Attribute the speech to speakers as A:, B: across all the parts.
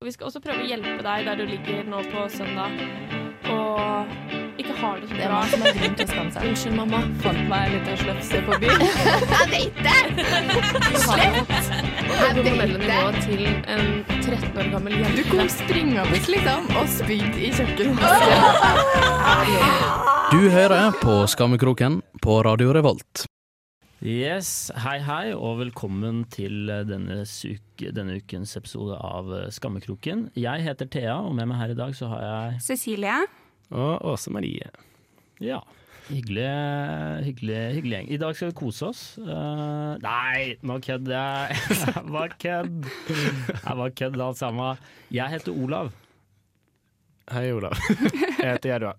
A: Og vi skal også prøve å hjelpe deg der du ligger nå på søndag og ikke har det så
B: Det
A: bra.
B: var som en grunn til å skamme seg.
A: Unnskyld, mamma. Fant meg en liten slefse på byen.
C: Jeg vet det! Slett! Jeg vet det!
A: nivået til en 13 år gammel
B: Du
A: jente.
B: kom springende bort liksom, og spydde i kjøkkenet.
D: Du hører på Skammekroken på Radio Revolt.
E: Yes, hei hei, og velkommen til eh, denne, syk- denne ukens episode av eh, Skammekroken. Jeg heter Thea, og med meg her i dag så har jeg
C: Cecilie.
F: Og Åse Marie.
E: Ja, hyggelig, hyggelig, hyggelig gjeng. I dag skal vi kose oss. Eh, nei, nå kødder jeg. Jeg var kødd. Jeg var kødd alt sammen. Jeg heter Olav.
F: Hei, Olav. Jeg heter Jerva.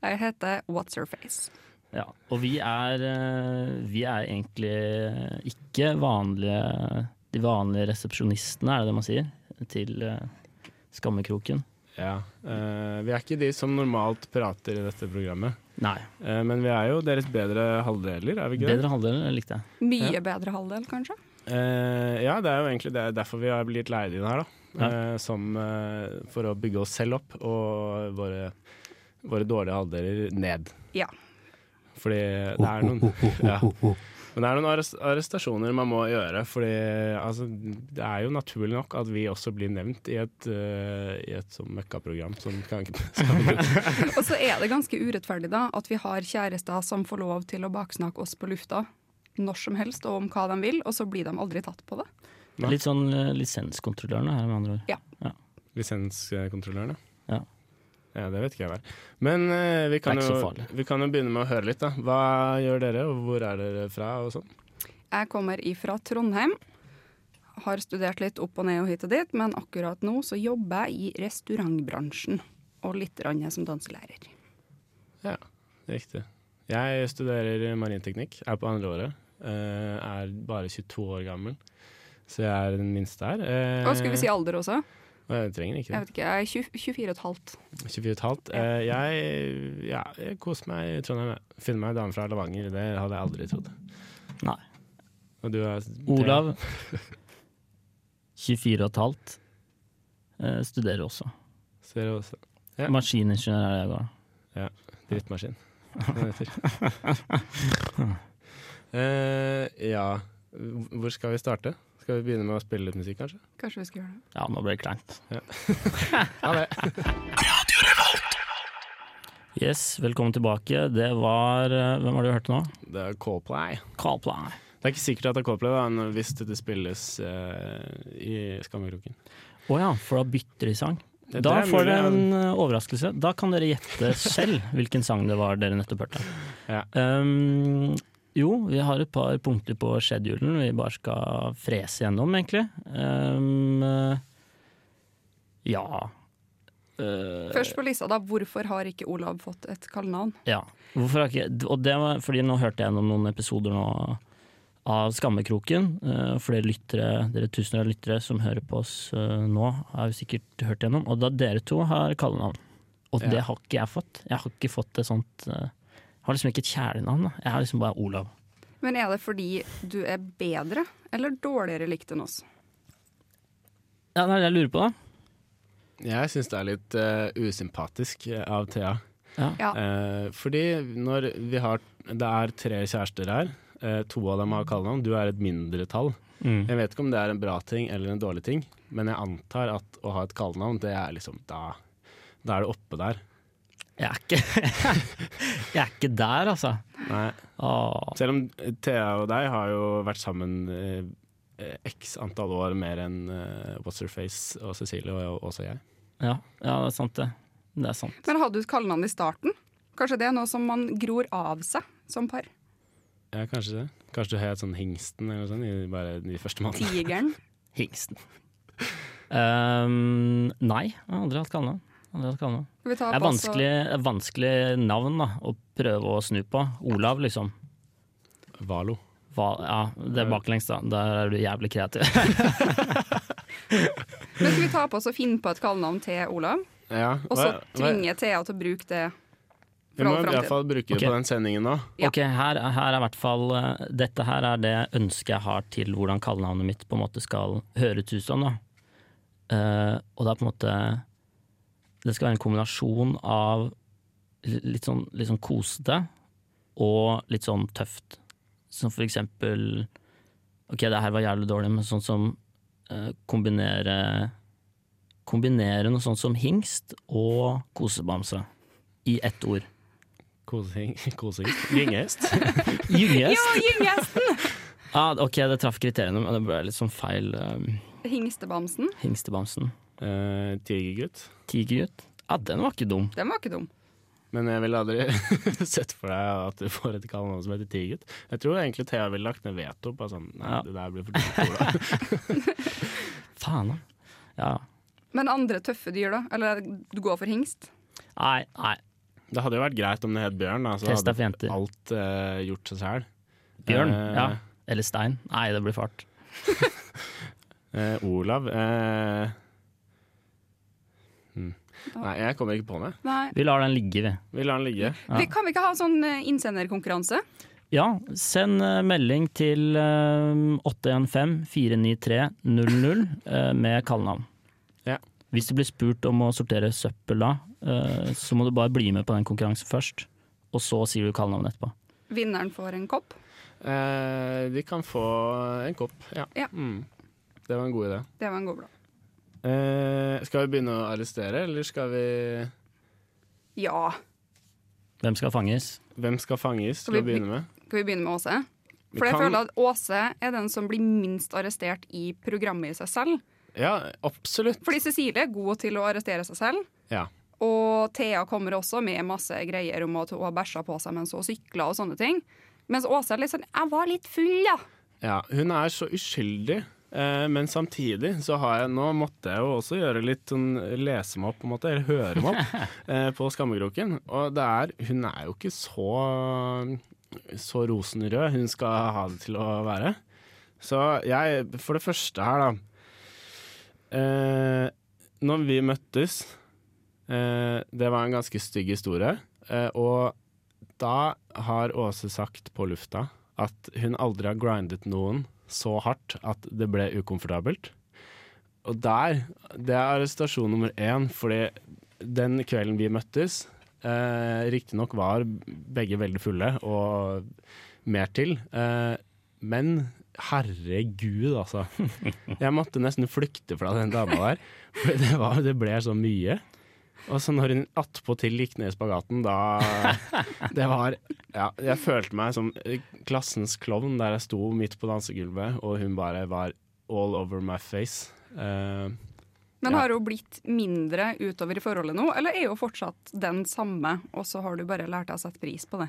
C: Jeg heter What's Her Face.
E: Ja, og vi er, eh, vi er egentlig ikke vanlige, de vanlige resepsjonistene, er det det man sier, til eh, Skammekroken.
F: Ja. eh, vi er ikke de som normalt prater i dette programmet,
E: Nei.
F: Eh, men vi er jo deres bedre halvdeler, er vi ikke det?
E: Bedre halvdel likte jeg.
C: Mye bedre halvdel, kanskje.
F: Eh, ja, det er jo egentlig det, derfor vi har blitt leid inn her, da.
E: Ja.
F: Eh, som eh, for å bygge oss selv opp og våre, våre dårlige halvdeler ned.
C: Ja.
F: Fordi det er noen ja. Men det er noen arres- arrestasjoner man må gjøre, fordi altså, det er jo naturlig nok at vi også blir nevnt i et, eh, i et sånn møkkaprogram som kan
C: Og så er det ganske urettferdig da, at vi har kjærester som får lov til å baksnakke oss på lufta når som helst og om hva de vil, og så blir de aldri tatt på det.
F: Nei.
E: Litt sånn eh, lisenskontrollørene her, med andre ord.
F: Lisenskontrollørene?
E: Ja.
F: ja. Det vet ikke jeg hva er. Men eh, vi, kan
E: Det er ikke så
F: jo,
E: farlig.
F: vi kan jo begynne med å høre litt, da. Hva gjør dere, og hvor er dere fra, og sånn?
C: Jeg kommer ifra Trondheim. Har studert litt opp og ned og hit og dit, men akkurat nå så jobber jeg i restaurantbransjen. Og litt grann som danselærer.
F: Ja, riktig. Jeg studerer marinteknikk, er på andre året. eh, er bare 22 år gammel, så jeg er den minste her. eh,
C: Og skulle vi si alder også?
F: og Jeg trenger ikke det.
C: Jeg vet ikke, jeg er 20, 24 og et halvt.
F: 24 og et halvt. Eh, jeg, ja, jeg koser meg i Trondheim. jeg. Finner meg ei dame fra Levanger, det hadde jeg aldri trodd.
E: Nei.
F: Og du er
E: Olav, 24,5, eh, studerer også.
F: Ser du også. Ja.
E: Maskiningeniør er jeg da.
F: Drittmaskin. som det heter. eh, ja, hvor skal vi starte? Skal vi begynne med å spille litt musikk, kanskje?
C: Kanskje vi skal gjøre det.
E: Ja, nå ble det kleint.
F: Ja, det.
E: Yes, velkommen tilbake. Det var eh, Hvem har du hørt nå?
F: Det er Coldplay.
E: Coldplay.
F: Det er ikke sikkert at det er Coldplay, da, men hvis dette spilles eh, i Skammekroken.
E: Å ja, for da bytter de sang.
F: Det-
E: da
F: det er
E: får
F: mulig,
E: dere
F: ja.
E: en eh, overraskelse. Da kan dere gjette selv hvilken sang det var dere nettopp hørte.
F: Ja.
E: Um, jo, vi har et par punkter på schedulen vi bare skal frese gjennom, egentlig. Um, eh, ja Eh,
C: Først på lista, da. Hvorfor har ikke Olav fått et kallenavn?
E: Ja. Hvorfor har ikke Og det var fordi nå hørte jeg gjennom noen episoder nå av Skammekroken. eh, For dere lyttere, dere tusener av lyttere som hører på oss eh, nå, har jo sikkert hørt gjennom. Og da dere to har kallenavn. Og
F: Ja.
E: det har ikke jeg fått. Jeg har ikke fått et sånt eh, Jeg har liksom ikke et kjælenavn. da. Jeg har liksom bare Olav.
C: Men er det fordi du er bedre eller dårligere likt enn oss?
E: Ja, det er det jeg lurer på, da.
F: Jeg syns det er litt eh, usympatisk eh, av Thea.
C: Ja.
F: Eh, fordi når vi har Det er tre kjærester her. eh, to av dem har kallenavn. Du er et mindretall. Jeg vet ikke om det er en bra ting eller en dårlig ting, men jeg antar at å ha et kallenavn, det er liksom da Da er det oppe der.
E: Jeg er ikke, jeg er ikke der, altså.
F: Nei.
E: Åh.
F: Selv om eh, Thea og deg har jo vært sammen eh, x antall år mer enn eh, What's Her Face og Cecilie og, og også jeg.
E: Ja, ja, det er sant, det. Det er sant.
C: Men hadde du et kallenavn i starten? Kanskje det er noe som man gror av seg som par?
F: Ja, kanskje det. Kanskje du het sånn Hingsten eller noe sånt i bare de første månedene.
C: Tigeren?
E: Hingsten. Ehm, nei, jeg har aldri hatt kallenavn. Aldri hatt kallenavn.
C: Skal vi ta
E: Det er
C: pass og-
E: vanskelig, det er vanskelig navn da, å prøve å snu på. Olav, liksom.
F: Valo.
E: Hva, ja, det er baklengs, da. Der er du jævlig kreativ.
C: Men skal vi ta på oss og finne på et kallenavn til Olav,
F: Ja,
C: og så tvinge Thea til å bruke det?
F: Vi må i
C: fremtiden.
F: hvert fall bruke
E: Ok.
F: det på den sendingen nå.
C: Ja.
E: Ok, her, her er i hvert fall eh, Dette her er det ønsket jeg har til hvordan kallenavnet mitt på en måte skal høres ut som. da. Eh, og det er på en måte Det skal være en kombinasjon av li- litt sånn, litt sånn kosete og litt sånn tøft. Som for eksempel Ok, det her var jævlig dårlig, men sånn som eh, kombinere Kombinere noe sånt som hingst og kosebamse i ett ord.
F: Kosing, kosing. Gyngehest.
E: Gyngest?
C: Gyngesten!
E: Ah, ok, det traff kriteriene, men det ble litt sånn feil. eh,
C: Hingstebamsen.
E: hingstebamsen.
F: Eh, Tigergutt.
E: Tigergutt? Ja, den var ikke dum.
C: Den var ikke dum.
F: Men jeg ville aldri sett for deg at du får et kallenavn som heter Tigergutt. Jeg tror egentlig Thea ville lagt ned veto på sånn Nei,
E: Ja.
F: det der blir for dumt. Ola.
E: Faen, da. Ja.
C: Men andre tøffe dyr, da? Eller du går for hingst?
E: Nei, nei.
F: Det hadde jo vært greit om det het Bjørn, da, så
E: Testa for
F: hadde
E: jenter.
F: alt eh, gjort seg selv.
E: Bjørn.
F: Eh,
E: Ja. Eller stein. Nei, det blir fart.
F: eh, Olav eh, hm. Nei, jeg kommer ikke på det.
C: Nei.
E: Vi lar den ligge, vi.
F: Vi lar den ligge.
E: Ja.
C: Vi, kan vi ikke ha sånn eh, innsenderkonkurranse?
E: Ja, send eh, melding til eh, 815-493-00 eh, med kallenavn.
F: Ja.
E: Hvis du blir spurt om å sortere søppel da, eh, så må du bare bli med på den konkurransen først. Og så sier du kallenavnet etterpå.
C: Vinneren får en kopp.
F: Eh, de kan få en kopp, ja.
C: Ja.
F: Mm. Det var en god idé.
C: Det var en god blad.
F: Eh, skal vi begynne å arrestere, eller skal vi
C: Ja.
E: Hvem skal fanges?
F: Hvem skal fanges
C: Skal
F: til å
C: vi-
F: begynne med?
C: Skal vi begynne med Åse?
F: Vi
C: For jeg
F: kan-
C: føler at Åse er den som blir minst arrestert i programmet i seg selv.
F: Ja, absolutt.
C: Fordi Cecilie er god til å arrestere seg selv.
F: Ja.
C: Og Thea kommer også med masse greier om at hun har bæsja på seg mens hun sykla og sånne ting. Mens Åse er litt sånn 'jeg var litt full', da.
F: Ja, hun er så uskyldig, eh, men samtidig så har jeg Nå måtte jeg jo også gjøre litt sånn lese meg opp, på en måte, eller høre meg opp, eh, på Skammekroken. Og det er Hun er jo ikke så så rosenrød hun skal ha det til å være. Så jeg For det første her, da. Eh, når vi møttes eh, Det var en ganske stygg historie, eh, og da har Åse sagt på lufta at hun aldri har grindet noen så hardt at det ble ukomfortabelt. Og der, det er arrestasjon nummer én, fordi den kvelden vi møttes, eh, riktignok var begge veldig fulle og mer til, eh, men herregud, altså. Jeg måtte nesten flykte fra den dama der, for det, var, det ble så mye. Og så når hun attpåtil gikk ned i spagaten, da det var ja, Jeg følte meg som eh, klassens klovn der jeg sto midt på dansegulvet, og hun bare var all over my face. Eh,
C: Men
F: Ja.
C: har hun blitt mindre utover i forholdet nå, eller er hun fortsatt den samme, og så har du bare lært deg å sette pris på det?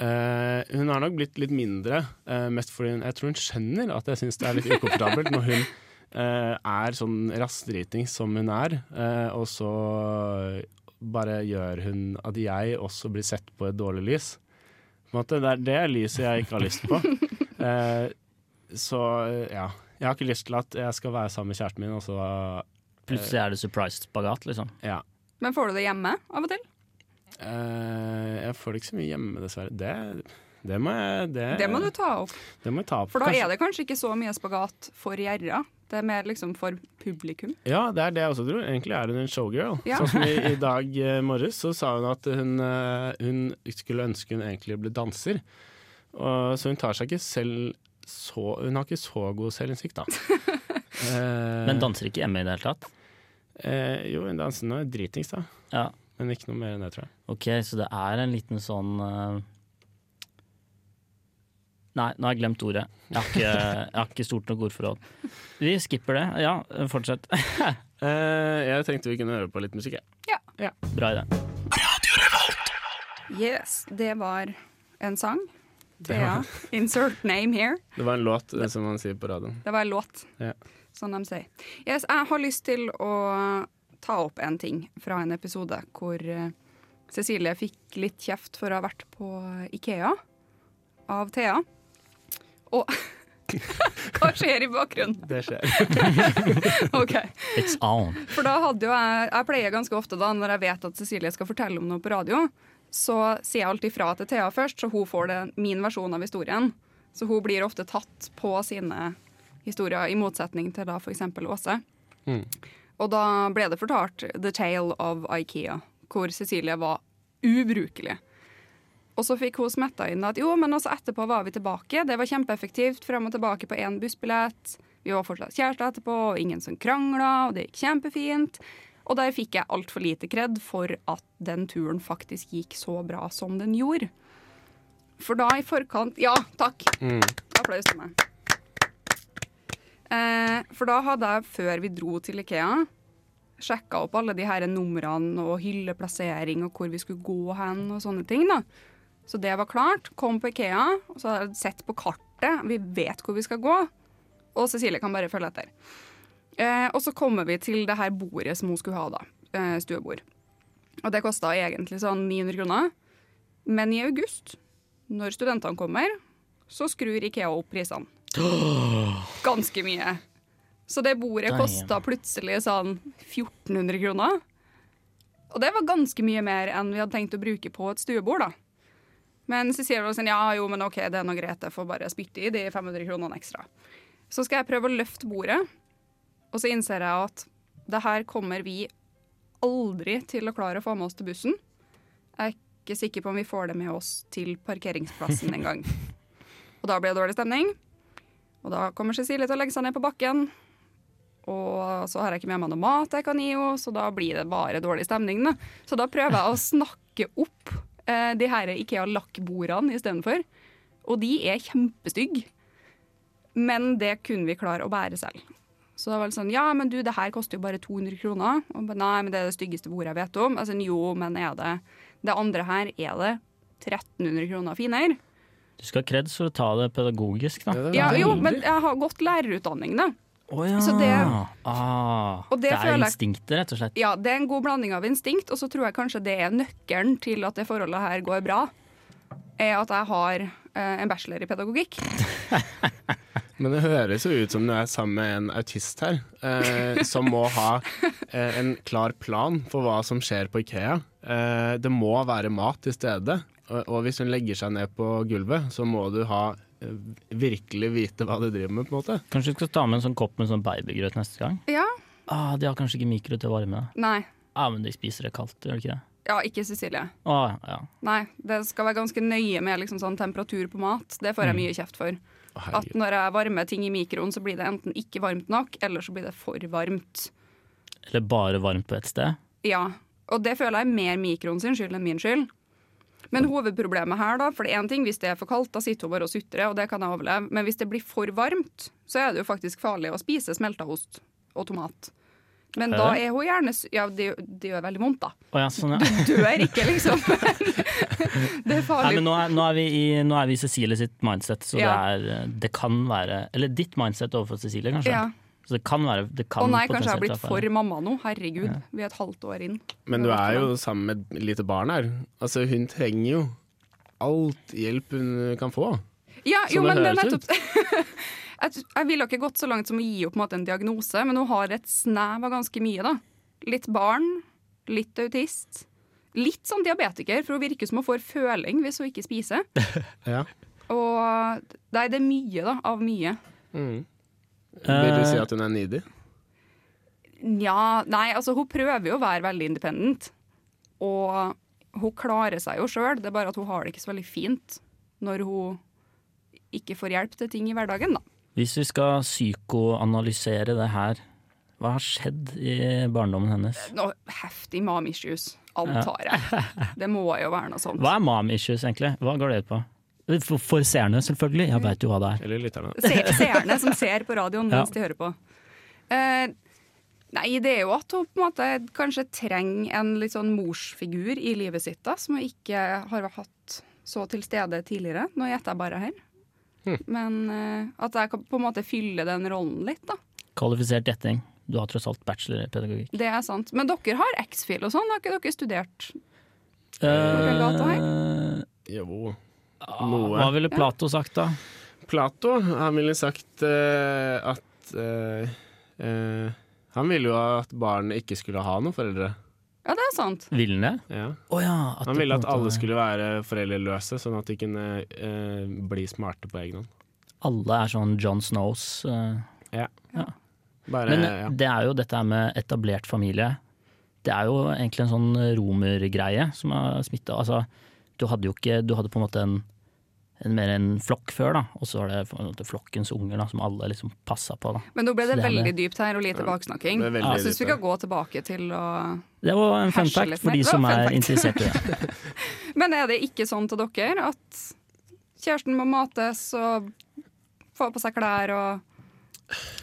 F: eh, hun har nok blitt litt mindre, eh, mest fordi hun, jeg tror hun skjønner at jeg syns det er litt ukomfortabelt når hun eh, er sånn rassdriting som hun er, eh, og så bare gjør hun at jeg også blir sett på et dårlig lys. På en måte, det er det lyset jeg ikke har lyst på. Eh, så ja. Jeg har ikke lyst til at jeg skal være sammen med kjæresten min, og så
E: Plutselig
F: Eh.
E: er det surprise spagat, liksom.
F: ja.
C: Men får du det hjemme av og til?
F: Eh, jeg får det ikke så mye hjemme, dessverre. Det, det, må, jeg, det,
C: Det må du ta opp,
F: det må jeg ta opp.
C: for da er det kanskje ikke så mye spagat for gjerra. Det er mer liksom for publikum.
F: Ja, det er det jeg også tror. Egentlig er hun en showgirl.
C: Ja.
F: Sånn som i, i dag eh, morges så sa hun at hun, eh, hun skulle ønske hun egentlig ble danser. Og, så hun tar seg ikke selv så Hun har ikke så god selvinnsikt, da. Eh,
E: Men danser ikke hjemme i det hele tatt.
F: eh, jo, hun danser nå dritings, da.
E: Ja.
F: Men ikke noe mer enn det, tror jeg.
E: Ok, så det er en liten sånn eh, Nei, nå har jeg glemt ordet. Jeg har ikke, jeg har ikke stort nok ordforråd. Vi skipper det. Ja, fortsett.
F: Eh, jeg tenkte vi kunne høre på litt musikk, jeg.
E: Bra idé.
C: Yes, det var en sang. Thea, insert name here.
F: Det var en låt, eh, som man sier på radioen.
C: Det var en låt,
F: Ja.
C: som de sier. Yes, jeg har lyst til å ta opp en ting fra en episode hvor eh, Cecilie fikk litt kjeft for å ha vært på Ikea av Thea. Og Hva skjer i bakgrunnen?
F: Det skjer.
C: Ok,
E: It's on.
C: For da hadde jo jeg Jeg pleier ganske ofte da, når jeg vet at Cecilie skal fortelle om noe på radio, så sier jeg alltid fra til Thea først, så hun får det, min versjon av historien. Så hun blir ofte tatt på sine historier, i motsetning til da f.eks. Åse.
F: Mm.
C: Og da ble det fortalt The Tale of Ikea, hvor Cecilie var ubrukelig. Og så fikk hun smetta inn at jo, men også etterpå var vi tilbake. Det var kjempeeffektivt. Fram og tilbake på én bussbillett. Vi var fortsatt kjærester etterpå, og ingen som krangla, og det gikk kjempefint. Og der fikk jeg altfor lite kred for at den turen faktisk gikk så bra som den gjorde. For da i forkant Ja, takk! Applaus til meg. Eh, for da hadde jeg, før vi dro til Ikea, sjekka opp alle de her numrene og hylleplassering og hvor vi skulle gå hen og sånne ting. da. Så det var klart. Kom på Ikea, og så hadde jeg sett på kartet. Vi vet hvor vi skal gå. Og Cecilie kan bare følge etter. Eh, og så kommer vi til det her bordet som hun skulle ha, da. Eh, stuebord. Og det kosta egentlig sånn 900 kroner. Men i august, når studentene kommer, så skrur Ikea opp prisene. Ganske mye. Så det bordet
E: Damn.
C: kosta plutselig sånn 1400 kroner. Og det var ganske mye mer enn vi hadde tenkt å bruke på et stuebord, da. Men Cecilie var sånn, ja jo, men ok, det er nå greit, jeg får bare spytte i de 500 kronene ekstra. Så skal jeg prøve å løfte bordet, og så innser jeg at det her kommer vi aldri til å klare å få med oss til bussen. Jeg er ikke sikker på om vi får det med oss til parkeringsplassen en gang. Og da blir det dårlig stemning, og da kommer Cecilie til å legge seg ned på bakken, og så har jeg ikke med meg noe mat jeg kan gi henne, så da blir det bare dårlig stemning. Da. Så da prøver jeg å snakke opp eh, de her Ikea-lakkbordene istedenfor. Og de er kjempestygge, men det kunne vi klare å bære selv. Så det var litt sånn Ja, men du, det her koster jo bare 200 kroner. Og ba, Nei, men det er det styggeste bordet jeg vet om. Altså, jo, men er det Det andre her, er det 1300 kroner finere?
E: Du skal ha kreds for å ta det pedagogisk, da.
C: Ja, jo, men jeg har gått lærerutdanning, da.
E: Å ja.
C: Så det-
E: ah,
C: Og det
E: det er
C: føler jeg-
E: instinktet, rett og slett.
C: Ja, det er en god blanding av instinkt, og så tror jeg kanskje det er nøkkelen til at det forholdet her går bra, er at jeg har eh, en bachelor i pedagogikk.
F: Men det høres jo ut som du er sammen med en autist her, eh, som må ha eh, en klar plan for hva som skjer på Ikea. Eh, det må være mat til stede, og, og hvis hun legger seg ned på gulvet, så må du ha eh, virkelig vite hva du driver med, på en måte.
E: Kanskje du skal ta med en sånn kopp med sånn babygrøt neste gang?
C: Ja.
E: Ah, de har kanskje ikke mikro til å varme det.
C: Nei.
E: Ah, men de spiser det kaldt, gjør de ikke det?
C: Ja, ikke Cecilie.
E: Ah, ja.
C: Nei, det skal være ganske nøye med liksom sånn temperatur på mat. Det får jeg mye kjeft for.
F: Å,
C: At
F: herregud.
C: når jeg varmer ting i mikroen, så blir det enten ikke varmt nok, eller så blir det for varmt.
E: Eller bare varmt på ett sted.
C: Ja, og det føler jeg er mer mikroen sin skyld enn min skyld. Men hovedproblemet her, da, for det er en ting, hvis det er for kaldt, da sitter hun bare og sutrer, og det kan jeg overleve. Men hvis det blir for varmt, så er det jo faktisk farlig å spise smelta ost og tomat. Men
E: Er
C: da
E: det?
C: er hun gjerne su- Ja, det, det gjør veldig vondt, da.
E: Å ja, sånn, ja.
C: Dør ikke, liksom. det er
E: Nei,
C: farlig.
E: men nå er, nå, er vi i, nå er vi i Cecilie sitt mindset, så
C: Ja.
E: det, er, eh, det kan være Eller ditt mindset overfor Cecilie, kanskje.
C: Ja.
E: Så det kan være det kan
C: Å nei, kanskje jeg har
E: potensielt
C: blitt
E: være farlig.
C: for mamma nå. Herregud, vi er et halvt år inn.
F: Men du er jo sammen med et lite barn her. Altså, hun trenger jo alt hjelp hun kan få.
C: Ja,
F: Som
C: jo,
F: det
C: men det er
F: høres ut.
C: nettopp Jeg jeg ville ikke gått så langt som å gi opp på en måte, en diagnose, men hun har et snev av ganske mye, da. Litt barn, litt autist. Litt sånn diabetiker, for hun virker som hun får føling hvis hun ikke spiser.
F: Ja.
C: Og nei, det er mye, da, av mye.
F: Mm. Vil du si at hun er needy?
C: Nja, nei, altså hun prøver jo å være veldig independent. Og hun klarer seg jo sjøl, det er bare at hun har det ikke så veldig fint når hun ikke får hjelp til ting i hverdagen, da.
E: Hvis vi skal psykoanalysere det her, hva har skjedd i barndommen hennes?
C: Noe heftig mom issues, antar jeg. Det må jo være noe sånt.
E: Hva er mom issues, egentlig? Hva går det ut på? For, for seerne, selvfølgelig. Jeg veit jo hva det er.
F: Eller lytterne?
C: Se, seerne som ser på radioen mens
E: Ja.
C: de hører på. Eh, nei, det er jo at hun på en måte kanskje trenger en litt sånn morsfigur i livet sitt, da, som hun ikke har hatt så til stede tidligere. Nå gjetter jeg bare her. Men eh, at jeg kan på en måte fylle den rollen litt, da.
E: Kvalifisert gjetting. Du har tross alt bachelor i pedagogikk.
C: Det er sant. Men dere har X-Fil og sånn, har ikke dere studert?
E: Eh,
C: Plato
F: Jo.
E: hva ville Plato sagt, da?
F: Plato, han ville sagt eh, at eh, eh, Han ville jo at barnet ikke skulle ha noen foreldre.
C: Ja, det er sant.
E: Ville han det?
F: Ja.
E: Å ja, at
F: Han
E: det
F: ville
E: på en
F: at
E: måte-
F: alle skulle være foreldreløse, sånn at de kunne eh, bli smarte på egen hånd.
E: Alle er sånn John Snows. eh,
F: Ja. Bare,
E: Men
F: ja.
E: det er jo dette her med etablert familie. Det er jo egentlig en sånn romergreie som er smitta. Altså, du hadde jo ikke Du hadde på en måte en, en mer en flokk før, da. Og så var det på en måte flokkens unger da, som alle liksom passa på. da.
C: Men nå ble det
E: Så det er
C: veldig
E: det.
C: dypt her og lite baksnakking.
F: Det er veldig
C: Jeg syns vi
F: dypt,
C: kan gå tilbake til å
E: Det var en fun
C: Herse
E: fact
C: litt
E: for
C: mer.
E: de
C: Det var
E: som
C: fun
E: er
C: fact.
E: interessert i det.
C: Men er det ikke sånn til dere at kjæresten må mates og få på seg klær og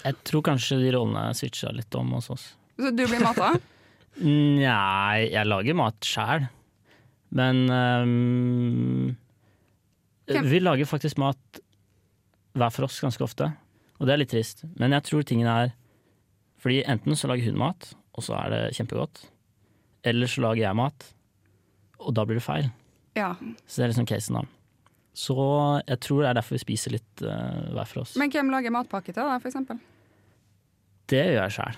E: Jeg tror kanskje de rollene switcha litt om hos oss.
C: Så du blir mata?
E: Nei, jeg lager mat sjæl. Men øhm,
C: Hvem-
E: Vi lager faktisk mat hver for oss ganske ofte. Og det er litt trist. Men jeg tror tingene er Fordi enten så lager hun mat, og så er det kjempegodt. Eller så lager jeg mat, og da blir det feil.
C: Ja.
E: Så det er liksom casen, da. Så jeg tror det er derfor vi spiser litt øh, hver for oss.
C: Men hvem lager matpakke til deg, for eksempel?
E: det gjør jeg sjæl.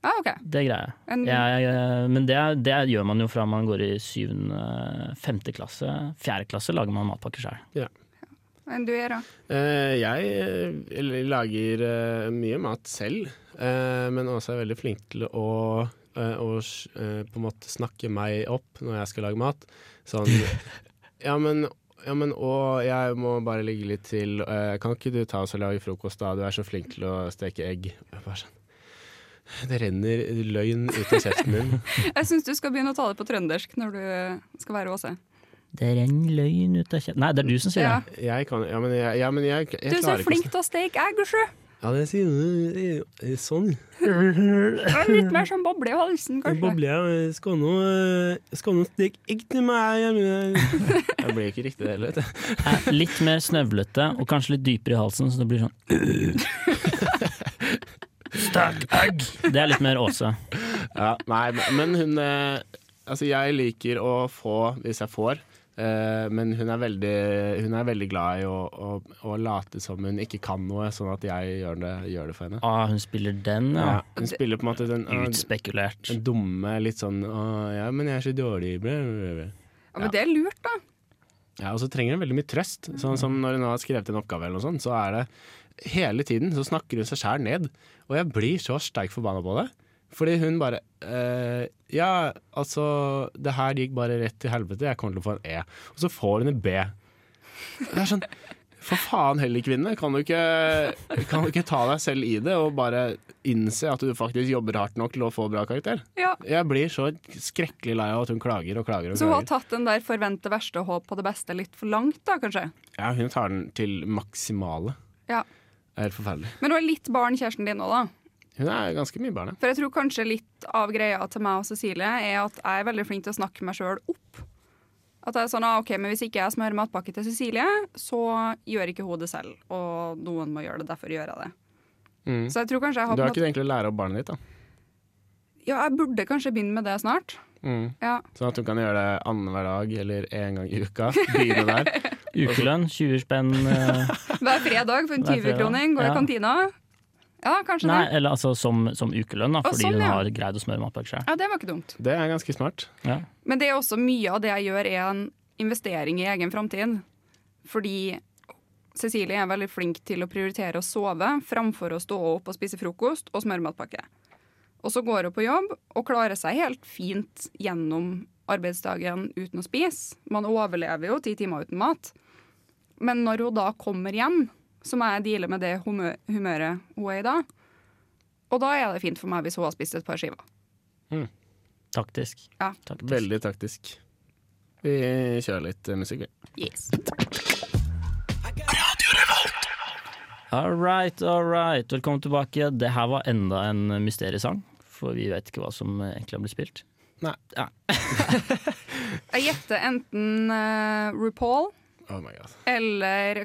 C: Ja, OK.
E: Det greier jeg.
C: En,
E: Jeg, eh, men det, det gjør man jo fra man går i syvende, femte klasse. Fjerde klasse lager man matpakker sjøl.
C: en du gjør, ja.
F: Eh, jeg eh, lager eh, mye mat selv, eh, men også er veldig flink til å eh, å s- eh, på en måte snakke meg opp når jeg skal lage mat. Sånn Ja, men, ja, men og jeg må bare ligge litt til. eh, kan ikke du ta oss og lage frokost, da? Du er så flink til å steke egg. Jeg bare sånn Det renner løgn ut av kjeften min.
C: Jeg syns du skal begynne å ta det på trøndersk når du eh, skal være Åse.
E: Det renner løgn ut av kjeften Nei, det er du som sier
C: Ja.
E: det.
F: Jeg kan Ja, men jeg, ja, men jeg,
C: Du
F: jeg
C: er så
F: klarer ikke å
C: flink til å steke egg, sjø!
F: sn- Ja, det sier du. Sånn.
C: Litt mer sånn boble i halsen, kanskje.
F: Boble, eh, skal nå, eh, skal nå stikke egg til meg hjemme. Det blir ikke riktig det heller, vet du.
E: Er litt mer snøvlete og kanskje litt dypere i halsen, så det blir sånn Stak egg! Det er litt mer Åse.
F: Ja, nei, men hun eh, Altså, jeg liker å få, hvis jeg får, eh, men hun er veldig, hun er veldig glad i å, å, å late som hun ikke kan noe, sånn at jeg gjør det, gjør det for henne.
E: Ah, hun spiller den, ja.
F: Ja, hun spiller på en måte den, ah,
E: Utspekulert.
F: den dumme, litt sånn ah, Ja, men jeg er så dårlig bla, bla, bla.
C: Ja, men det er lurt, da.
F: Ja, og så trenger hun veldig mye trøst. Sånn som
C: Mm.
F: når hun har skrevet en oppgave, eller noe sånt, så er det hele tiden så snakker hun seg sjæl ned. Og jeg blir så sterk forbanna på det. Fordi hun bare eh, Ja, altså, det her gikk bare rett til helvete. Jeg kommer til å få en E. Og så får hun en B. Det er sånn For faen heller, kvinne. Kan du, ikke, kan du ikke ta deg selv i det og bare innse at du faktisk jobber hardt nok til å få bra karakter?
C: Ja.
F: Jeg blir så skrekkelig lei av at hun klager og klager og
C: Så hun har
F: klager.
C: tatt den der forvente verste og håp på det beste litt for langt, da, kanskje.
F: Ja, hun tar den til maksimale.
C: Ja.
F: Det er helt forferdelig.
C: Men hun er litt barn, kjæresten din òg, da.
F: Hun er ganske mye barn, ja.
C: For jeg tror kanskje litt av greia til meg og Cecilie er at jeg er veldig flink til å snakke meg sjøl opp. At jeg er sånn, ah, ok, men Hvis ikke jeg smører matpakke til Cecilie, så gjør ikke hun det selv. Og noen må gjøre det, derfor gjør jeg det.
F: Mm.
C: Så jeg tror kanskje jeg har
F: Du
C: på
F: har
C: en
F: ikke
C: måte,
F: egentlig læra opp barnet ditt, da.
C: Ja, jeg burde kanskje begynne med det snart.
F: Mm.
C: Ja.
F: Sånn at hun kan gjøre det annenhver dag eller én gang i uka. Begynne der.
E: Ukelønn, 20 spenn. eh,
C: Hver fredag for en
E: Hver fredag.
C: 20-kroning går jeg
E: Ja.
C: i kantina. Ja, kanskje
E: Nei,
C: det.
E: eller altså som, som ukelønn, da,
C: Å,
E: fordi
C: sånn,
E: hun
C: ja.
E: har greid å smøre matpakker sjøl.
C: Ja, Det var ikke dumt.
F: Det er ganske smart.
E: Ja.
C: Men det er også mye av det jeg gjør, er en investering i egen framtid. Fordi Cecilie er veldig flink til å prioritere å sove framfor å stå opp og spise frokost og smørmatpakke. Og så går hun på jobb og klarer seg helt fint gjennom arbeidsdagen uten å spise. Man overlever jo ti timer uten mat. Men når hun da kommer hjem, så må jeg deale med det humø humøret hun er i da. Og da er det fint for meg hvis hun har spist et par skiver.
E: Taktisk.
C: Ja.
E: Taktisk.
F: Veldig taktisk. Vi kjører litt eh, musikk, vi.
C: Yes.
E: All right, all right. Velkommen tilbake. Det her var enda en mysteriesang, for vi vet ikke hva som egentlig har blitt spilt.
F: Nei.
E: Ja.
C: Jeg gjetter enten eh, RuPaul
F: Oh my god.
C: eller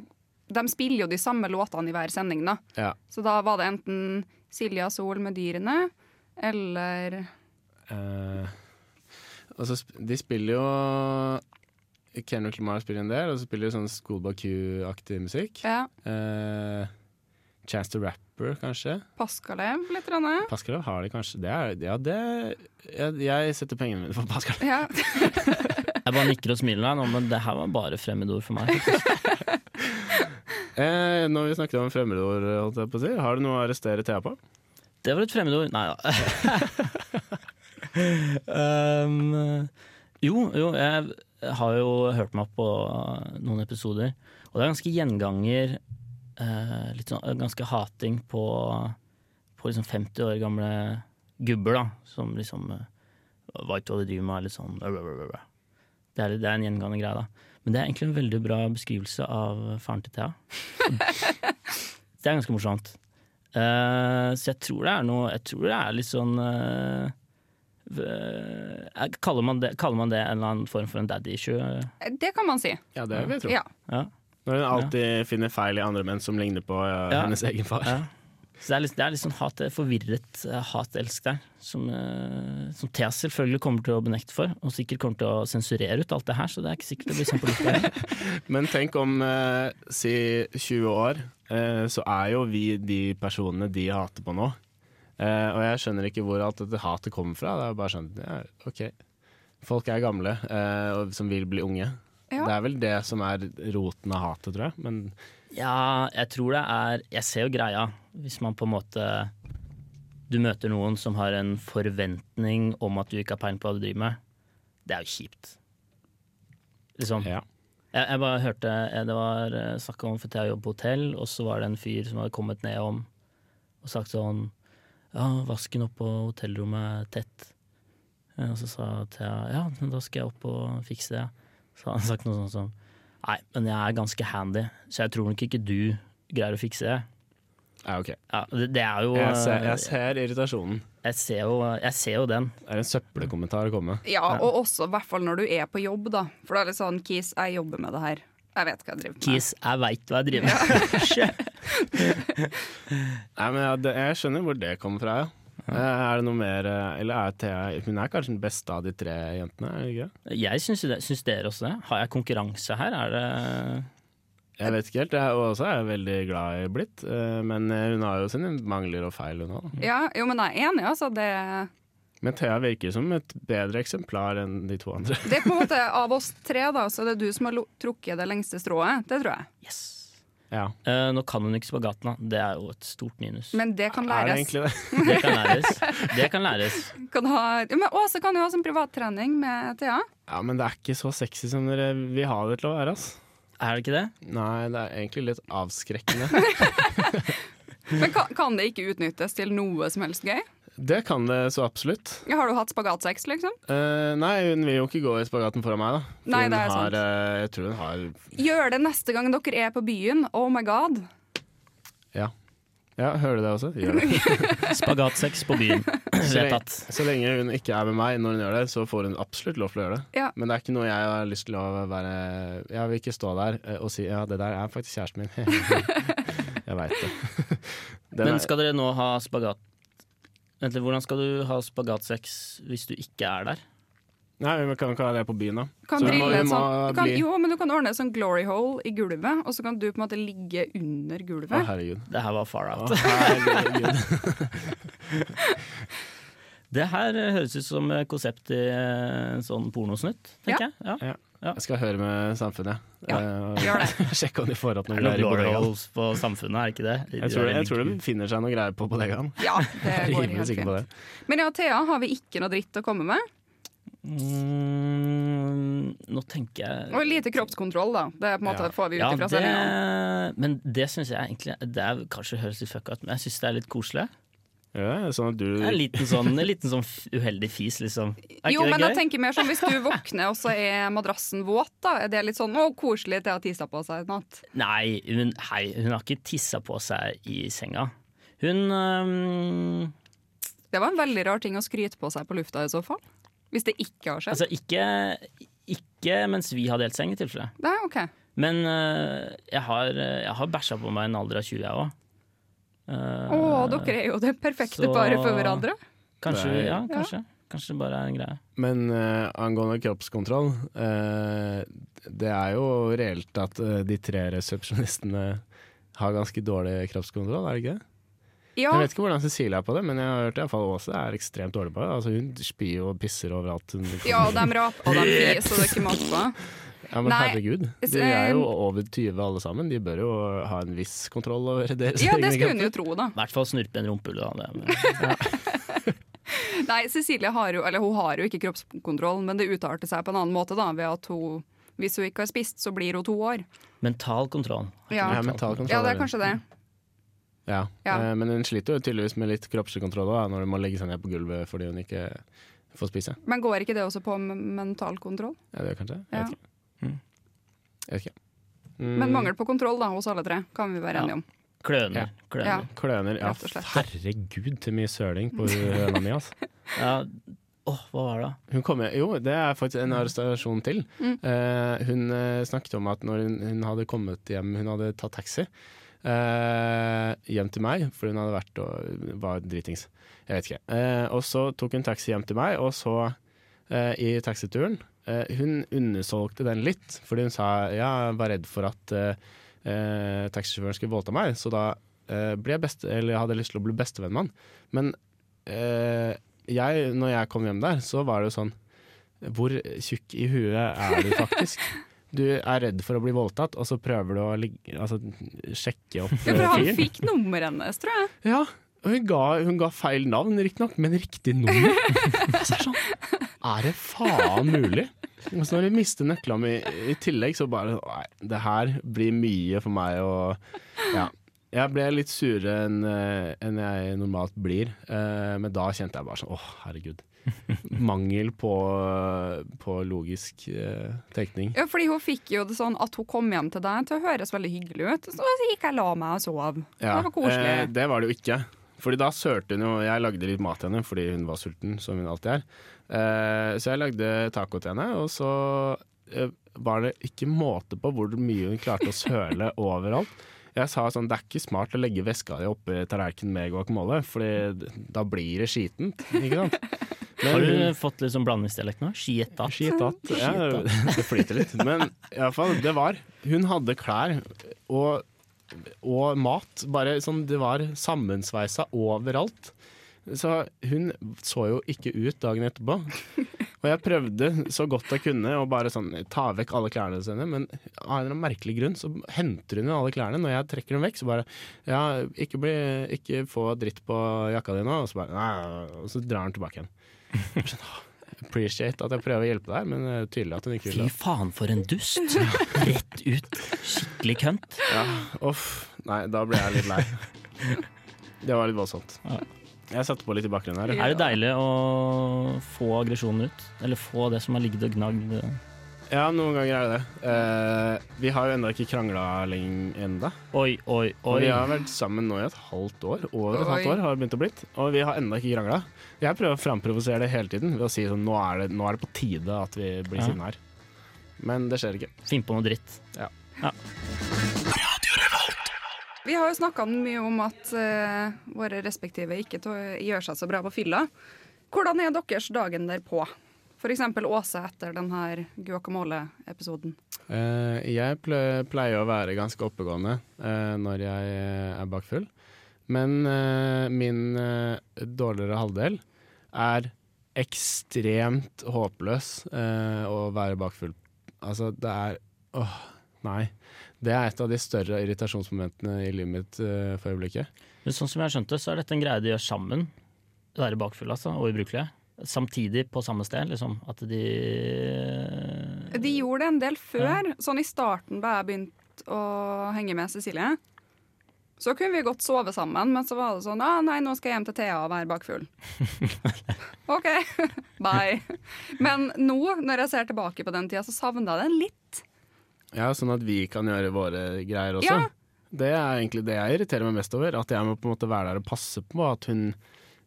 C: De spiller jo de samme låtene i hver sending, da.
F: Ja.
C: Så da var det enten Silja Sol med dyrene eller
F: Eh, og så sp de spiller jo Kendrick Lamar spiller en del, og så spiller de sånn Schoolboy Q-aktig musikk.
C: ja,
F: Eh, Chance the Rapper, kanskje.
C: Paskalev litt. Rønne.
F: Pascal har de kanskje det er, Ja, det jeg, jeg setter pengene mine på Pascal.
C: Ja.
E: Jeg bare nikker og smiler her nå, men det her var bare fremmedord for meg.
F: Eh, når vi snakket om fremmedord, holdt jeg på å si, har du noe å arrestere Thea på?
E: Det var et fremmedord. Nei da. um, jo, jo, jeg har jo hørt meg opp på noen episoder, og det er ganske gjenganger. eh, litt sånn, ganske hating på, på liksom 50 år gamle gubber, da. Som liksom uh, veit hva de driver med, er litt sånn Det er, litt- det er en gjengående greie, da. Men det er egentlig en veldig bra beskrivelse av faren til Thea. det er ganske morsomt. Eh, så jeg tror det er noe Jeg tror det er litt sånn eh, v- eh, kaller, man det, kaller man det en eller annen form for en daddy issue?
C: Det kan man si.
F: Ja, det vil jeg tro.
C: Ja.
E: Ja.
F: Når hun alltid finner feil i andre menn som ligner på ja,
E: Ja.
F: hennes egen far.
E: ja. Så det er litt, det er litt sånn hat, forvirret eh, hat-elsk der, som, uh, som Thea selvfølgelig kommer til å benekte for, og sikkert kommer til å sensurere ut alt det her, så det er ikke sikkert det blir sånn på lufta. heller.
F: Men tenk om, eh, si 20 år, eh, så er jo vi de personene de hater på nå. Eh, og jeg skjønner ikke hvor alt dette hatet kommer fra. Det er bare sånn, ja, ok. Folk er gamle, eh, og som vil bli unge.
C: Ja.
F: Det er vel det som er roten av hatet, tror jeg. Men
E: Ja, jeg tror det er Jeg ser jo greia, hvis man på en måte Du møter noen som har en forventning om at du ikke har peiling på hva du driver med. Det er jo kjipt. Liksom.
F: ja.
E: Jeg, jeg bare hørte eh, Det var eh, snakk om for jeg jobber på hotell, og så var det en fyr som hadde kommet ned om og sagt sånn Ja, vasken oppe på hotellrommet er tett. Eh, Og så sa Thea ja, men da skal jeg opp og fikse det. Så hadde han sagt noe sånt som Nei, men jeg er ganske handy, så jeg tror nok ikke du greier å fikse det.
F: ja, ok.
E: Ja, det, det er jo eh,
F: Jeg ser, jeg ser irritasjonen.
E: jeg ser jo, jeg ser jo den.
F: Det er en søppelkommentar å komme.
C: ja, og også i hvert fall når du er på jobb, da. For da er det sånn Kis, jeg jobber med det her. Jeg vet hva jeg driver med.
E: Kis, jeg veit hva jeg driver med.
F: Nei, men jeg, jeg skjønner hvor det kommer fra, ja. Eh, Er det noe mer eh, Eller er Thea Hun er kanskje den beste av de tre jentene? Er det ikke? det?
E: jeg syns, det, syns dere også det. Har jeg konkurranse her? Er det
F: Jeg vet ikke helt. Jeg også er jeg veldig glad i Blitt. eh, Men eh, hun har jo sine mangler og feil, hun òg.
C: Ja, jo, men jeg er enig, altså. Det,
F: Men Thea virker som et bedre eksemplar enn de to andre.
C: det er på en måte av oss tre, da, så det er du som har lo- trukket det lengste strået. Det tror jeg.
E: Yes!
F: Ja.
E: Eh, nå kan hun ikke spagaten, da. Det er jo et stort minus.
C: Men det kan
F: Er det
C: læres.
F: egentlig det?
E: Det kan læres. Det kan læres.
C: Kan ha, ja, men Åse kan jo ha sånn privattrening med Thea.
F: Ja, men det er ikke så sexy som dere vil ha det til å være, ass.
E: Er det ikke det?
F: Nei, det er egentlig litt avskrekkende.
C: Men kan, kan det ikke utnyttes til noe som helst gøy?
F: Det kan det så absolutt.
C: Har du hatt spagatsex, liksom?
F: Eh, nei, hun vil jo ikke gå i spagaten foran meg, da. For
C: Nei,
F: hun
C: det er
F: har,
C: sant.
F: eh, jeg tror hun har
C: Gjør det neste gang dere er på byen. Oh my god.
F: Ja. Ja, hører du det også? Gjør det.
E: Spagatsex på byen.
F: Så lenge,
E: Vedtatt.
F: så lenge hun ikke er med meg når hun gjør det, så får hun absolutt lov til å gjøre det.
C: Ja.
F: Men det er ikke noe jeg har lyst til å være Jeg vil ikke stå der eh, og si ja, det der er faktisk kjæresten min. jeg veit det. Den
E: Men
F: er,
E: skal dere nå ha spagat... Vent litt, hvordan skal du ha spagatsex hvis du ikke er der?
F: nei, vi kan ikke ha det på byen, da.
C: Kan
F: Så hun må-
C: drille
F: hun
C: en
F: må
C: sånn, du kan,
F: bli-
C: jo, men du kan ordne en sånn glory hole i gulvet, og så kan du på en måte ligge under
F: Å,
C: gulvet.
F: herregud.
E: Det her var far
F: Å,
E: out.
F: herregud.
E: Det her eh, høres ut som eh, konsept i eh, en sånn pornosnutt, tenker jeg. Ja.
F: Jeg skal høre med samfunnet.
C: Ja,
F: Eh,
C: gjør det.
F: Sjekke om de får opp
E: Det er
F: noen
E: noen
F: greier i
E: glory
F: bodegaen.
E: holes på samfunnet, er ikke det?
F: Jeg tror, jeg tror det finner seg noen greier på bodegaen.
C: Ja, det
F: Jeg er
C: går
F: rimelig
C: helt
F: sikker på
C: fint.
F: det.
C: Men ja, Thea, har vi ikke noe dritt å komme med?
E: Mm, nå tenker jeg
C: Og lite kroppskontroll, da. Det er på en måte
F: Ja.
C: får vi ut
E: ja,
C: ifra
E: det,
C: sendinga.
E: Men det syns jeg egentlig Det er, kanskje høres litt fuck out, men jeg syns det er litt koselig.
F: Ja, sånn at
E: Det er En
F: du
E: liten sånn, en liten sånn f- uheldig fis, liksom. Er
C: Jo,
E: ikke
C: men
E: det
C: jeg
E: gøy?
C: tenker mer som hvis du våkner, og så er madrassen våt, da. Er det litt sånn 'å, koselig, Thea tissa på seg i natt'?
E: Nei, hun, hei, hun har ikke tissa på seg i senga. Hun øhm,
C: Det var en veldig rar ting å skryte på seg på lufta i så fall. Hvis det ikke har skjedd.
E: Altså, ikke, ikke mens vi har delt seng, i tilfelle.
C: Nei, ok.
E: Men øh, jeg har, øh, jeg har bæsja på meg i en alder av 20, jeg òg.
C: Å, dere er jo det perfekte
E: så-
C: paret for hverandre.
E: Kanskje,
F: Nei.
E: ja, kanskje. Kanskje det bare er en greie.
F: Men eh, angående kroppskontroll, eh, det er jo reelt at eh, de tre resepsjonistene har ganske dårlig kroppskontroll, er det ikke? det?
C: Ja,
F: Jeg vet ikke hvordan Cecilie er på det, men jeg har hørt i hvert fall Åse er ekstremt dårlig på det. Altså, hun spyr og pisser overalt. Hun
C: ja og de raper og de fiser, så det er ikke måte på.
F: Ja, men
C: Nei,
F: herregud, de er jo over 20 alle sammen. De bør jo ha en viss kontroll over deres
C: Ja,
F: egne
C: det skulle hun
F: kropper.
C: jo tro, da.
E: I hvert fall snurpe en rumpehull, da. Det,
C: Nei, Cecilie har jo, eller hun har jo ikke kroppskontroll, men det utarter seg på en annen måte, da, ved at hun Hvis hun ikke har spist, så blir hun to år.
E: mental kontroll.
C: Ja,
F: Ja, mental kontroll.
C: ja det er
F: eller?
C: kanskje det.
F: Ja,
C: Ja.
F: eh, Men hun sliter jo tydeligvis med litt kroppslig kontroll også, når hun må legge seg ned på gulvet fordi hun ikke får spise.
C: Men går ikke det også på m- mental kontroll?
F: Ja, det er kanskje? Jeg
C: Ja.
F: vet ikke. Jeg vet ikke. Mm,
C: Men mangel på kontroll da, hos alle tre, kan vi være
E: Ja.
C: enige om.
E: Kløner.
C: Ja.
E: kløner.
F: Kløner. Ja,
C: Rett og slett.
F: herregud, til mye søling på høna mi, altså.
E: Ja. Åh, hva var det?
F: Hun kom, jo, det er faktisk en arrestasjon til.
C: Mm.
F: Eh, hun eh, snakket om at når hun, hun hadde kommet hjem, hun hadde tatt taxi eh, hjem til meg, for hun hadde vært og var dritings. Jeg vet ikke. Eh, og så tok hun taxi hjem til meg, og så eh, i taxituren eh, Hun undersolgte den litt, fordi hun sa ja, jeg var redd for at eh, eh, taxisjåføren skulle voldta meg, så da eh, ble jeg beste, eller jeg hadde lyst til å bli bestevenn med han. Men eh, jeg, når jeg kom hjem der, så var det jo sånn Hvor tjukk i huet er du faktisk? Du er redd for å bli voldtatt, og så prøver du å ligge, altså, sjekke opp
C: Ja, for
F: eh,
C: han
F: fyren.
C: fikk nummeret hennes, tror jeg.
F: Ja, og hun ga, hun ga feil navn, riktignok, men riktig nummer. Så er det sånn Er det faen mulig? Og så når jeg mister nøklene mine i tillegg, så bare Nei, det her blir mye for meg å Ja. Jeg ble litt surere enn eh, enn jeg normalt blir, eh, men da kjente jeg bare sånn Å, herregud. Mangel på, på logisk eh, tenkning.
C: Ja, fordi hun fikk jo det sånn at hun kom hjem til deg til å høres veldig hyggelig ut. Så gikk jeg og la meg og sov.
F: Ja,
C: Det var koselig.
F: eh, det var det jo ikke. Fordi da sølte hun jo Jeg lagde litt mat til henne fordi hun var sulten, som hun alltid er. Eh, så jeg lagde taco til henne, og så eh, var det ikke måte på hvor mye hun klarte å søle overalt. Jeg sa sånn, det er ikke smart å legge veska di oppi tallerkenen med guacamole, Fordi da blir det skitent, ikke sant. Men-
E: Har du fått litt sånn blandingsdialekt nå? Skieta.
F: Skitatt. Ja, det flyter litt. Men i alle fall, det var Hun hadde klær og, og mat. Bare sånn, det var sammensveisa overalt. Så hun så jo ikke ut dagen etterpå. Og jeg prøvde så godt jeg kunne å bare sånn, ta vekk alle klærne sine, men av en eller annen merkelig grunn så henter hun jo alle klærne. Når jeg trekker dem vekk, så bare Ja, ikke, bli, ikke få dritt på jakka di nå. Og så, bare, nei, og så drar hun tilbake igjen. Jeg skjønner, «Åh, Appreciate at jeg prøver å hjelpe deg, men det er tydelig at hun ikke vil
E: Fy
F: det.
E: faen, for en dust! Rett ut. Skikkelig kønt.
F: Uff. Nei, da ble jeg litt lei. Det var litt voldsomt.
E: Ja.
F: Jeg satte på litt i bakgrunnen her.
E: Er det deilig å få aggresjonen ut? Eller få det som har ligget og gnagd?
F: Ja, noen ganger er det det. Eh, vi har jo ennå ikke krangla lenge enda.
E: Oi, oi,
F: Og
E: oi.
F: vi har vært sammen nå i et halvt år. Over et
C: Oi.
F: halvt år har det begynt å blitt. Og vi har ennå ikke krangla. Jeg prøver å framprovosere det hele tiden ved å si sånn nå er det, nå er det på tide at vi blir
E: Ja.
F: sinna her. Men det skjer ikke.
E: Finn på noe dritt.
C: Vi har jo snakka mye om at eh, våre respektive ikke to- gjør seg så bra på fylla. Hvordan er deres dagen derpå? F.eks. Åse etter denne guacamole-episoden.
F: Eh, jeg ple- pleier å være ganske oppegående eh, når jeg eh, er bakfull. Men eh, min eh, dårligere halvdel er ekstremt håpløs eh, å være bakfull. Altså, det er Åh, nei. Det er et av de større irritasjonsmomentene i livet mitt eh, for øyeblikket.
E: Men sånn som jeg skjønte, så er dette en greie de gjør sammen. Være bakfulle, altså, og ubrukelige. Samtidig på samme sted, liksom. At de
C: De
E: Mm.
C: gjorde det en del før, sånn i starten da jeg begynte å henge med Cecilie. Så kunne vi godt sove sammen, men så var det sånn ah, Nei, nå skal jeg hjem til Thea og være bakfull. OK, bye. Men nå, når jeg ser tilbake på den tida, så savna jeg den litt.
F: Ja, Sånn at vi kan gjøre våre greier også.
C: Ja.
F: Det er egentlig det jeg irriterer meg mest over. At jeg må på en måte være der og passe på at hun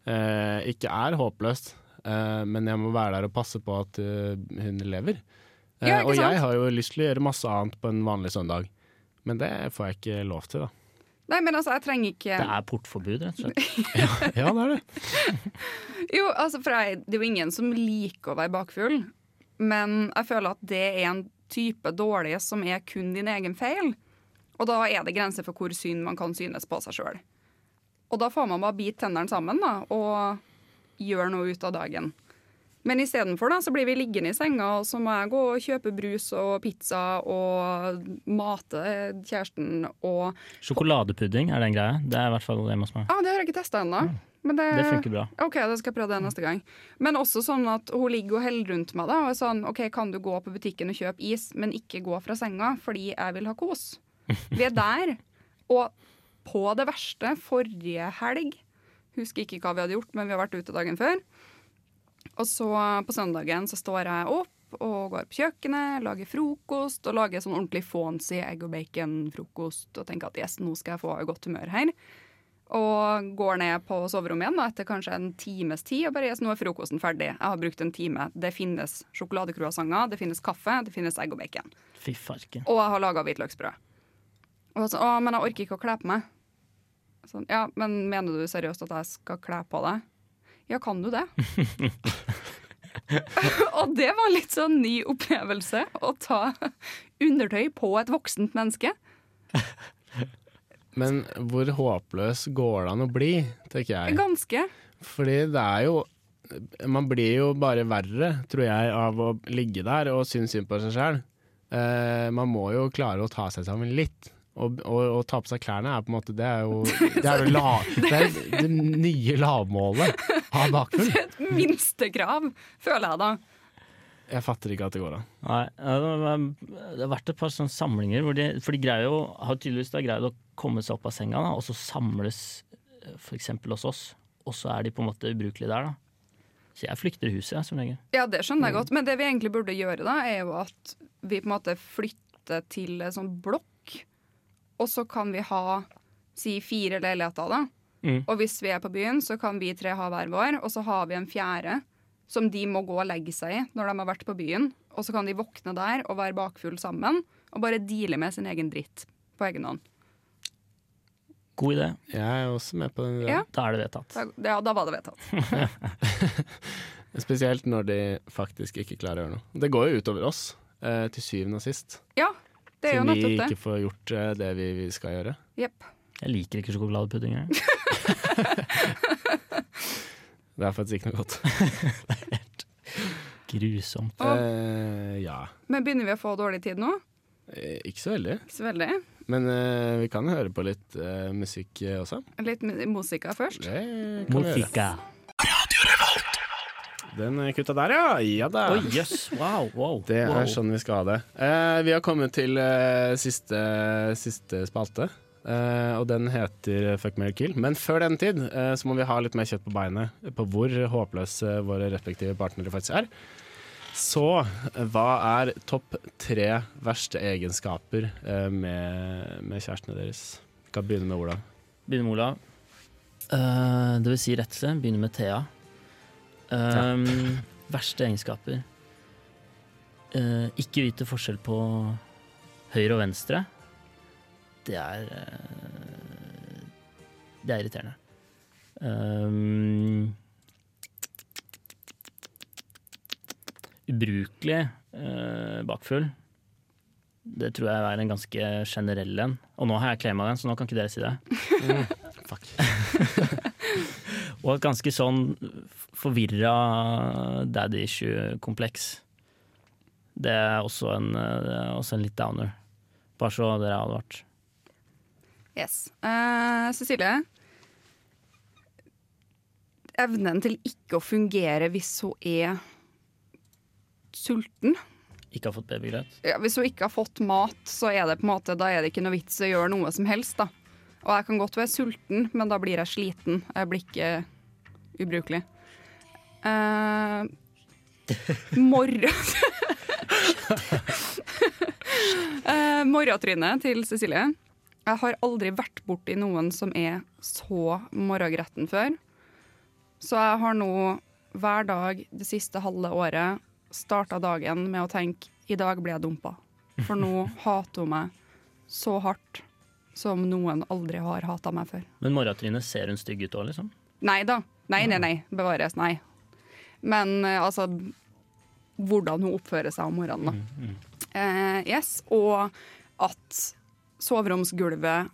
F: eh, ikke er håpløs, eh, men jeg må være der og passe på at eh, hun lever. Eh,
C: Ja, ikke
F: og
C: sant?
F: jeg har jo lyst til å gjøre masse annet på en vanlig søndag, men det får jeg ikke lov til, da.
C: Nei, men altså, jeg trenger ikke
E: Det er portforbud, rett og slett.
F: Ja, det er det.
C: Jo, altså for jeg, Det er jo ingen som liker å være bakfull, men jeg føler at det er en type dårlige som er kun din egen feil. Og da er det grenser for hvor synd man kan synes på seg sjøl. Og da får man bare bite tennene sammen da, og gjøre noe ut av dagen. Men istedenfor da, så blir vi liggende i senga, og så må jeg gå og kjøpe brus og pizza og mate kjæresten og
E: Sjokoladepudding er den greia. Det er i hvert fall hjemme hos meg.
C: Ja, ah, det har jeg ikke testa ennå. Men det,
E: Mm. Det funker bra.
C: OK, da skal jeg prøve det neste gang. Men også sånn at hun ligger og heller rundt meg da, og er sånn OK, kan du gå på butikken og kjøpe is, men ikke gå fra senga, fordi jeg vil ha kos. Vi er der. Og på det verste, forrige helg Husker ikke hva vi hadde gjort, men vi har vært ute dagen før. Og så på søndagen så står jeg opp og går på kjøkkenet, lager frokost og lager sånn ordentlig fancy egg og bacon-frokost og tenker at yes, nå skal jeg få godt humør her. Og går ned på soverommet igjen da, etter kanskje en times tid og bare yes, nå er frokosten ferdig. Jeg har brukt en time. Det finnes sjokoladecroissanter, det finnes kaffe, det finnes egg og bacon.
E: Fy farken.
C: Og jeg har laga hvitløksbrød. Og jeg sånn, å, men jeg orker ikke å kle på meg. Sånn, ja, men mener du seriøst at jeg skal kle på deg? Ja, kan du det? og det var litt sånn ny opplevelse, å ta undertøy på et voksent menneske.
F: Men hvor håpløs går det an å bli, tenker jeg.
C: Ganske.
F: Fordi det er jo Man blir jo bare verre, tror jeg, av å ligge der og synes synd på seg sjøl. Eh, man må jo klare å ta seg sammen litt. Og, og, og ta på seg klærne er på en måte Det er jo det, er jo la, det, er det nye lavmålet. Ha bakfull.
C: Et minstekrav, føler jeg da.
F: Jeg fatter ikke at det går an.
E: Nei, det var- det har vært et par sånne samlinger hvor de, for de greier jo, har tydeligvis da greid å komme seg opp av senga, da, og så samles f.eks. hos oss, og så er de på en måte ubrukelige der. da. Så jeg flykter huset, jeg, som regel.
C: Ja, det skjønner jeg godt. Men det vi egentlig burde gjøre da, er jo at vi på en måte flytter til en sånn blokk, og så kan vi ha si fire leiligheter da.
E: Mm.
C: Og hvis vi er på byen, så kan vi tre ha hver vår, og så har vi en fjerde som de må gå og legge seg i når de har vært på byen. Og så kan de våkne der og være bakfull sammen, og bare deale med sin egen dritt på egen hånd.
E: God idé.
F: Jeg er også med på den ideen.
C: Ja.
E: Da er det vedtatt.
C: Da, ja, da var det vedtatt.
F: Spesielt når de faktisk ikke klarer å gjøre noe. Det går jo utover oss, eh, til syvende og sist.
C: Ja, det er jo
F: Siden vi
C: nettopp det.
F: ikke får gjort eh, det vi, vi skal gjøre.
C: Jepp.
E: Jeg liker ikke sjokoladepudding. jeg.
F: Det er faktisk ikke noe godt.
E: Grusomt.
F: Eh, ja.
C: Men begynner vi å få dårlig tid nå?
F: Eh, ikke så veldig.
C: Ikke så veldig.
F: Men eh, vi kan høre på litt eh, musikk eh, også.
C: Litt musika først.
F: Det kan vi gjøre.
E: Motika.
F: Den eh, kutta der, ja. Ja da.
E: Oi, jøss. Wow, wow.
F: Det
E: wow.
F: er sånn vi skal ha det. Eh, vi har kommet til eh, siste, siste spalte. Eh, og den heter Fuck Mary Kill. Men før den tid eh, så må vi ha litt mer kjøtt på beinet på hvor håpløse våre respektive partnere faktisk er. Så hva er topp tre verste egenskaper eh, med, med kjærestene deres? Vi kan begynne med Ola.
E: Begynner med Olav. Eh, det vil si rettelse. Begynner med Thea. Ehm, verste egenskaper. Eh, ikke vite forskjell på høyre og venstre. Det er eh, Det er irriterende. Ehm, ubrukelig eh, bakfull. Det tror jeg er en ganske generell en. Og nå har jeg claima den, så nå kan ikke dere si det. Og et ganske sånn forvirra daddy issue-kompleks. Det er også en, det er også en litt downer. Bare så dere er advart.
C: Yes. Eh, Cecilie. Evnen til ikke å fungere hvis hun er sulten.
E: Ikke har fått babygrøt.
C: Ja, hvis hun ikke har fått mat, så er det på en måte, da er det ikke noe vits å gjøre noe som helst. da. Og jeg kan godt være sulten, men da blir jeg sliten. Jeg blir ikke ubrukelig. Uh, Morratrynet Eh, til Cecilie. Jeg har aldri vært borti noen som er så morgengretten før. Så jeg har nå hver dag det siste halve året starta dagen med å tenke i dag ble jeg dumpa. For nå hater hun meg så hardt som noen aldri har hata meg før.
E: Men morgentrynet ser hun stygg ut òg, liksom?
C: Nei da. Nei, nei, nei. Bevares, nei. Men eh, altså Hvordan hun oppfører seg om morgenen, da.
F: Mm,
C: Eh, yes. Og at soveromsgulvet,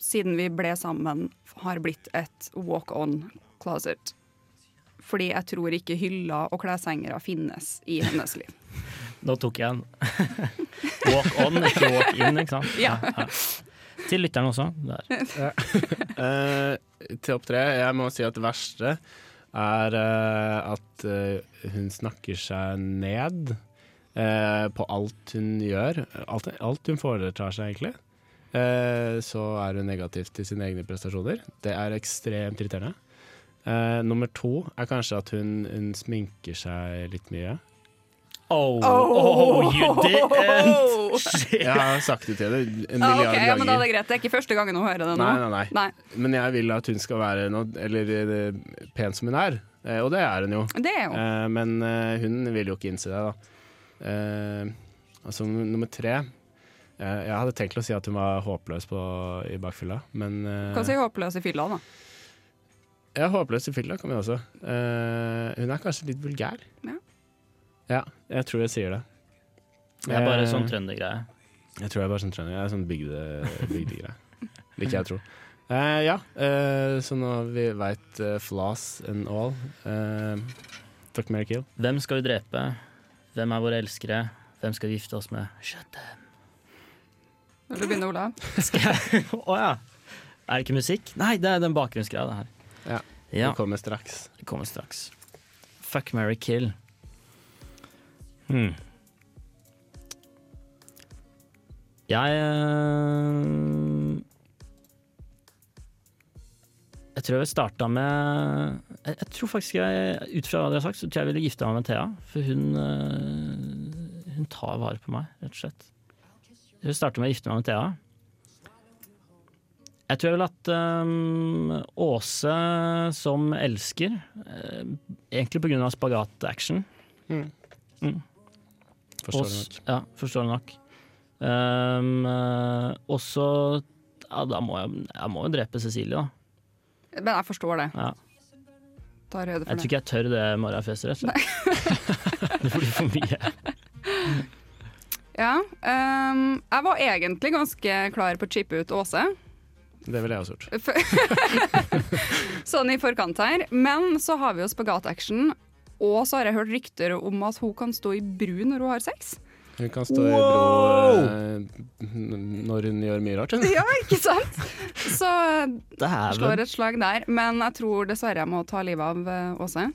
C: siden vi ble sammen, har blitt et walk on closet. fordi jeg tror ikke hyller og kleshengere finnes i hennes liv.
E: Nå tok jeg en. walk on, ikke walk in, ikke sant? Ja. ja. Til lytteren også. Der.
F: Eh, Topp tre. Jeg må si at det verste er eh, at eh, hun snakker seg ned eh, på alt hun gjør. Alt, alt hun foretar seg, egentlig. Eh, så er hun negativ til sine egne prestasjoner. Det er ekstremt irriterende. Eh, nummer to er kanskje at hun, hun sminker seg litt mye.
E: Oh, oh, you didn't! Shit.
F: Jeg har sagt det til henne en
C: Ah,
F: milliard
C: ok, ja, men da er
F: ganger.
C: det greit. Det er ikke første gangen hun hører det nå.
F: Nei, nei, nei.
C: Nei.
F: Men jeg vil at hun skal være noe, eller, eh, pen som hun er, Eh, og det er hun jo.
C: Det er jo
F: Eh, men eh, hun vil jo ikke innse det, da. Eh, altså num- nummer tre eh, Jeg hadde tenkt å si at hun var håpløs på, i bakfylla, men eh,
C: Hva sier håpløs i fylla, da?
F: Ja, håpløs i fylla kan vi også. Eh, hun er kanskje litt vulgær.
C: Ja.
F: Ja, jeg tror jeg sier det.
E: Det er bare
F: Eh,
E: sånn trøndergreie.
F: Jeg tror jeg er bare sånn trener. Jeg er sånn bygde- bygdegreie. Liker jeg å tro. Eh, ja, eh, så nå vi veit eh, flaws and all. Eh, fuck, marry, kill.
E: Hvem skal vi drepe? Hvem er våre elskere? Hvem skal vi gifte oss med? Shut up.
C: Vil du begynne, Olav?
E: Skal jeg Å ja. Er det ikke musikk? Nei, det er den bakgrunnsgreia, det her.
F: Ja.
E: ja.
F: Det kommer straks.
E: Det kommer straks. Fuck, marry, kill. Hmm. Jeg eh, Jeg tror jeg starta med jeg, jeg tror faktisk jeg, Ut fra hva dere har sagt, så tror jeg jeg ville gifta meg med Thea. For hun, eh, hun tar vare på meg, rett og slett. Jeg starter med å gifte meg med Thea. Jeg tror vel at ehm, Åse som elsker, eh, egentlig pga. spagat-action
F: Forstår du
E: Ås-
F: nok.
E: Ja, forstår du nok. Ehm, eh, og så ja, da må jeg, jeg må jo drepe Cecilie, da.
C: Men jeg forstår det.
E: Ja.
C: Tar høyde
E: Jeg
C: for
E: tror
C: det.
E: ikke jeg tør det morgenfestet, rett og slett. det blir for mye.
C: Ja, ehm, jeg var egentlig ganske klar på å chippe ut Åse.
F: Det ville jeg også gjort.
C: sånn i forkant her. Men så har vi jo spagataction. Og så har jeg hørt rykter om at hun kan stå i bru når hun har sex.
F: Hun kan stå i
E: Wow!
F: bro eh, n- når hun gjør mye rart. hun.
C: Ja, ikke sant? Så jeg
E: Dæven.
C: slår et slag der. Men jeg tror dessverre jeg må ta livet av eh, Åse.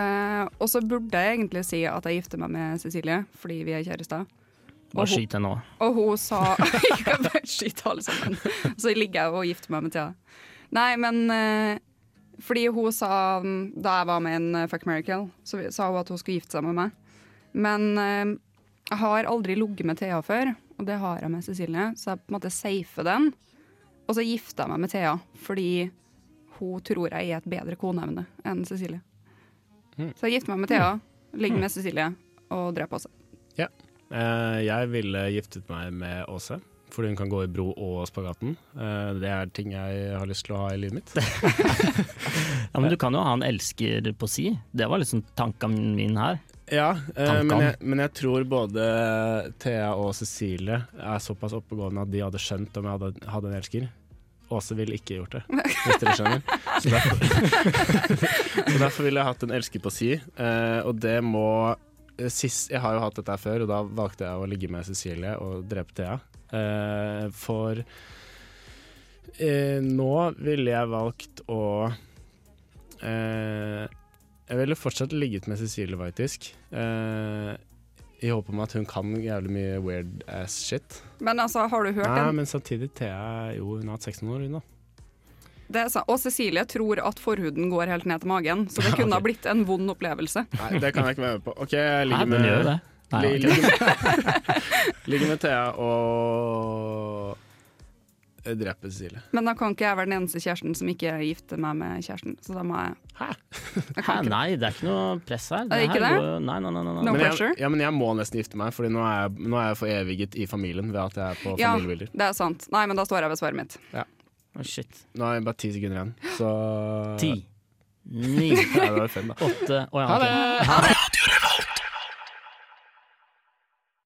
C: Eh, og så burde jeg egentlig si at jeg gifter meg med Cecilie, fordi vi er kjærester.
E: Bare skyt henne nå.
C: Og hun sa Jeg kan bare skyte alle sammen. Så ligger jeg og gifter meg med Thea. Nei, men eh, fordi hun sa mm, Da jeg var med en eh, Fuck Miracle, så vi- sa hun at hun skulle gifte seg med meg. Men eh, jeg har aldri ligget med Thea før, og det har jeg med Cecilie, så jeg på en måte safer den. Og så gifter jeg meg med Thea fordi hun tror jeg er et bedre koneevne enn Cecilie.
F: Hmm.
C: Så jeg gifter meg med Thea, ligger med Cecilie og dreper Åse.
F: Eh, jeg ville giftet meg med Åse, fordi hun kan gå i bro og spagaten. Eh, det er ting jeg har lyst til å ha i livet mitt.
E: Ja, men du kan jo ha en elsker på si. Det var liksom tanken min her.
F: Ja, eh,
E: Tankene.
F: men, jeg, men jeg tror både Thea og Cecilie er såpass oppegående at de hadde skjønt om jeg hadde, hadde en elsker. Åse ville ikke gjort det, hvis dere skjønner. Så derfor, så derfor ville jeg hatt en elsker på si, eh, og det må eh, Sist, jeg har jo hatt dette her før, og da valgte jeg å ligge med Cecilie og drepe Thea. Eh, for eh, nå ville jeg valgt å eh, jeg ville fortsatt ligget med Cecilie, faktisk. Eh, I håp om at hun kan jævlig mye weird ass shit.
C: Men altså, har du hørt
F: Nei,
C: den?
F: men samtidig Thea Jo, hun har hatt 16 år, hun, da.
C: Det er sant. Og Cecilie tror at forhuden går helt ned til magen, så det kunne ha blitt en vond opplevelse.
F: Nei, det kan jeg ikke være med på. OK, jeg
E: Hæ,
F: ligger
E: den gjør jo
F: med,
E: det. Nei,
F: li-
E: ok.
F: ligger med, ligger med Thea og dreper Cecilie.
C: Men da kan ikke jeg være den eneste kjæresten som ikke gifter meg med kjæresten, så da må jeg
F: Hæ?
C: Jeg
E: Hæ,
C: kan ikke.
E: nei, det er ikke noe press her.
C: Er det ikke
E: her
C: det?
E: går jo- Nei, nei, nei. nei, nei.
C: No
F: Men jeg,
C: pressure.
F: ja, men jeg må nesten gifte meg, Fordi nå er jeg, nå er jeg foreviget i familien ved at jeg er på
C: Ja,
F: familiebilder.
C: det er sant. Nei, men da står jeg ved svaret mitt.
E: Å, shit.
F: Nå er jeg bare ti sekunder igjen, så
E: Ti, ni,
F: Ja, det var fem, da.
E: åtte Å ja, ok.
F: Ha det!